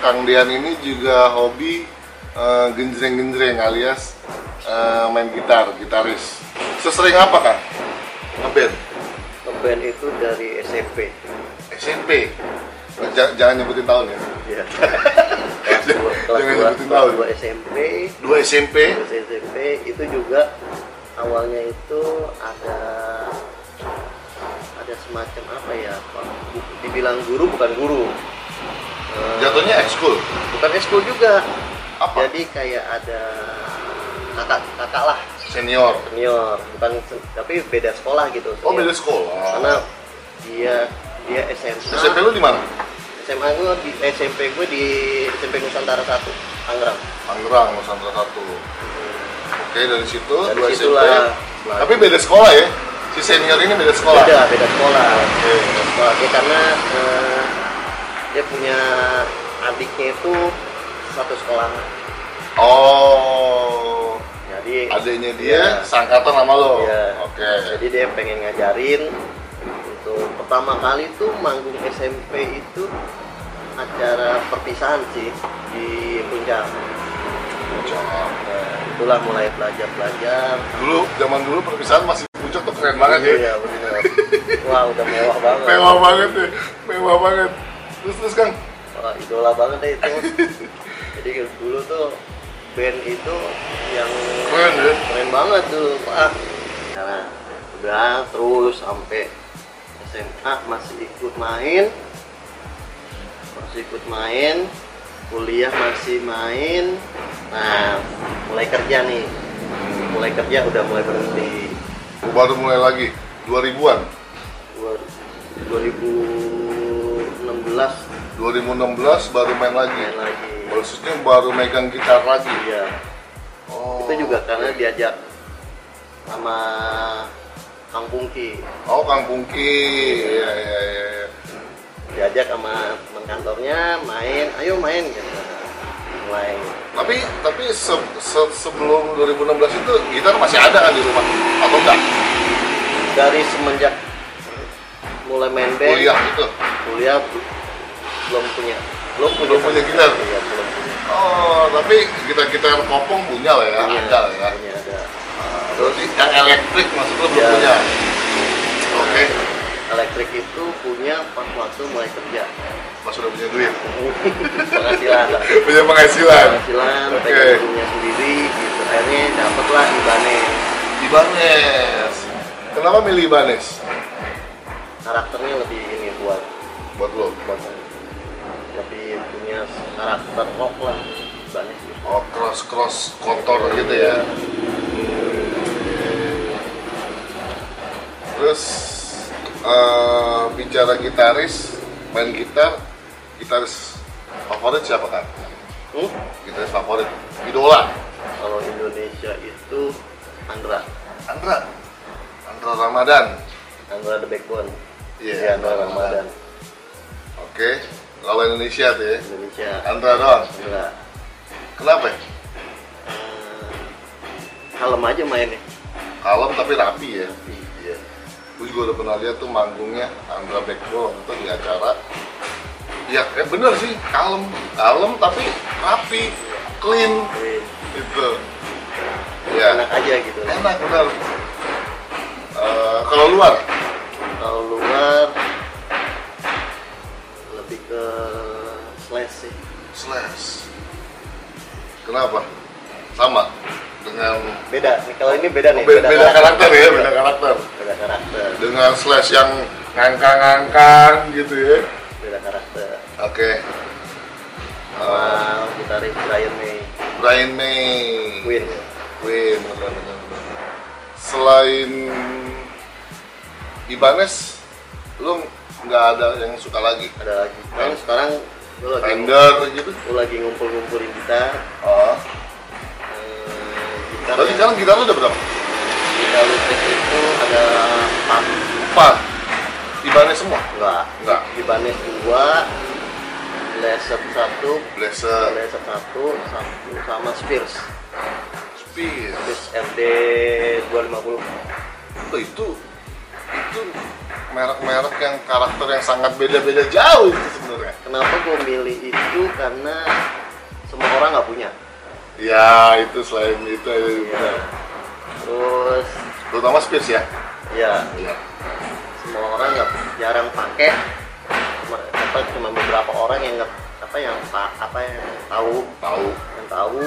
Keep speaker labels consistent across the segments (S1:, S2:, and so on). S1: Kang Dian ini juga hobi eh, genjreng-genjreng alias eh, main gitar, gitaris. Sesering apa Kang? Ngeband?
S2: Ngeband itu dari SMP.
S1: SMP? Eh, ja- jangan nyebutin tahun ya.
S2: Ya. kelas dua, kelas
S1: Jangan
S2: dua,
S1: nyebutin
S2: kelas
S1: tahun.
S2: dua SMP.
S1: Dua SMP?
S2: Kelas SMP itu juga awalnya itu ada ada semacam apa ya Pak? Bu- dibilang guru bukan guru Eh,
S1: Jatuhnya ekskul?
S2: bukan ekskul juga
S1: Apa?
S2: jadi kayak ada kakak kakak lah
S1: Senior?
S2: senior bukan se- tapi beda sekolah gitu
S1: Oh beda
S2: senior. karena
S1: sekolah.
S2: dia dia SMA
S1: SMP lu di mana?
S2: SMA gue di SMP gue di SMP Nusantara 1 Tangerang
S1: Tangerang, Nusantara 1. Oke, dari situ
S2: Dari
S1: dua
S2: situlah.
S1: SMP. Tapi beda sekolah ya. Si senior ini beda sekolah.
S2: beda beda sekolah
S1: Oke, beda sekolah.
S2: ya karena eh, dia punya adiknya itu satu sekolah
S1: Oh,
S2: jadi
S1: adiknya dia
S2: Iya.
S1: sangkatan sama lo.
S2: Iya.
S1: Oke.
S2: Jadi dia pengen ngajarin untuk pertama kali tuh manggung SMP itu acara perpisahan sih di Puncak.
S1: Puncak.
S2: Nah, itulah mulai belajar-belajar.
S1: Dulu zaman dulu perpisahan masih puncak tuh keren banget ya.
S2: Iya, bener. Wah, udah mewah banget.
S1: Mewah banget ya. Mewah banget. Terus terus Kang,
S2: Wah, idola banget deh itu. Jadi dulu tuh band itu yang
S1: Keren, ya?
S2: keren banget tuh, Pak. Nah, udah terus sampai SMA masih ikut main. Masih ikut main. Kuliah masih main. Nah, mulai kerja nih. Mulai kerja udah mulai berhenti.
S1: Gua baru mulai lagi 2000-an.
S2: Dua- 2016
S1: 2016 baru main lagi.
S2: main lagi.
S1: Maksudnya baru megang gitar lagi.
S2: Iya.
S1: Oh.
S2: itu juga karena diajak sama Kang Pungki
S1: Oh, Kang Pungki. Iya, iya, iya. iya.
S2: diajak sama teman kantornya main ayo main gitu. mulai
S1: Tapi tapi se- se- sebelum 2016 itu gitar masih ada kan di rumah atau enggak?
S2: dari semenjak mulai main band
S1: Kuliah gitu. itu.
S2: kuliah bu- belum punya belum punya,
S1: Belum punya gitar?
S2: Iya, belum punya
S1: Oh, tapi gitar-gitar kopong punya lah ya,
S2: Punya,
S1: ada lah ya. Ah,
S2: punya, ada
S1: Terus yang elektrik maksud lu belum
S2: Iya.
S1: punya. Oke,
S2: elektrik itu punya pas waktu mulai kerja
S1: mas udah punya duit.
S2: penghasilan lah
S1: Punya penghasilan.
S2: penghasilan
S1: Oke.
S2: pengen punya sendiri gitu akhirnya dapatlah di Bane
S1: Ibanez. Kenapa milih Ibanez?
S2: karakternya lebih ini buat
S1: Buat lo.
S2: buat lebih punya karakter rock lah banyak sih
S1: Oh, cross cross kotor gitu ya. Terus eh, bicara gitaris, main gitar, gitaris favorit siapa kan?
S2: hmm?
S1: Gitaris favorit, idola.
S2: kalau Indonesia itu Andra
S1: Andra Andra Ramadan
S2: Andra the Backbone
S1: Iya,
S2: Iya, Andra
S1: Andra
S2: Ramadan
S1: oke lawan Indonesia tuh ya
S2: Indonesia
S1: Andra doang
S2: Andra
S1: kenapa ya?
S2: Eh, kalem aja mainnya
S1: kalem tapi rapi ya
S2: Tapi,
S1: iya gue juga udah pernah lihat tuh manggungnya Andra Backbone itu di acara ya eh bener sih kalem kalem tapi rapi clean
S2: tapi
S1: gitu ya
S2: enak aja gitu
S1: enak bener Eh, kalau luar
S2: kalau luar lebih ke slash sih
S1: slash kenapa sama dengan
S2: beda nih kalau ini beda nih
S1: Oh, beda, beda karakter ya beda karakter
S2: beda karakter
S1: dengan slash yang ngangkang-ngangkang gitu ya.
S2: beda karakter
S1: Oke.
S2: sama
S1: Eh,
S2: gitaris Brian May
S1: Brian May.
S2: Queen
S1: Queen, bener, bener, bener. Selain Ibanez, lu nggak ada yang suka lagi?
S2: ada lagi kan sekarang gue lagi
S1: Fender gitu?
S2: gue lagi ngumpul-ngumpulin gitar
S1: Oh.
S2: Eh, gitar
S1: Berarti
S2: yang-
S1: sekarang gitar lu udah berapa?
S2: gitar listrik itu ada empat
S1: Empat. Ibanez semua?
S2: enggak
S1: Enggak.
S2: Ibanez dua laser satu eh,
S1: Blazer,
S2: laser satu satu sama Spears
S1: Spears.
S2: Spears FD 250
S1: Oh, itu itu merek-merek yang karakter yang sangat beda-beda jauh itu sebenarnya.
S2: kan kenapa gue milih itu karena semua orang nggak punya
S1: ya itu selain itu ya,
S2: Iya.
S1: benar.
S2: terus
S1: terutama space ya
S2: ya
S1: iya
S2: semua orang nggak jarang pakai cuma apa cuma beberapa orang yang nggak apa yang pa- apa yang tahu
S1: tahu
S2: yang tahu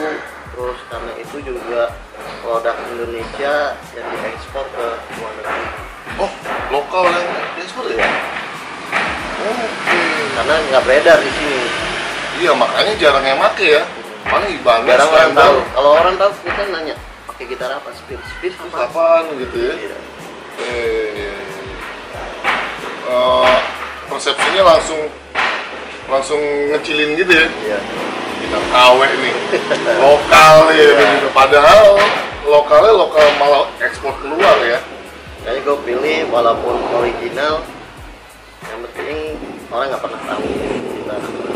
S2: terus karena itu juga produk Indonesia yang diekspor ke luar negeri
S1: oh lokal yang ekspor ya oke
S2: karena nggak beredar di sini
S1: iya makanya jarang yang make ya paling kan. ibadah
S2: jarang orang tahu kalau orang tahu kita nanya pakai gitar apa speed speed apa
S1: kapan gitu ya
S2: Iya.
S1: eh, eh, persepsinya langsung langsung ngecilin gitu ya
S2: Iya.
S1: kita KW nih lokal ya
S2: Iya.
S1: gitu. padahal lokalnya lokal malah ekspor keluar ya
S2: Kayaknya gue pilih walaupun original, yang penting orang nggak pernah tahu kita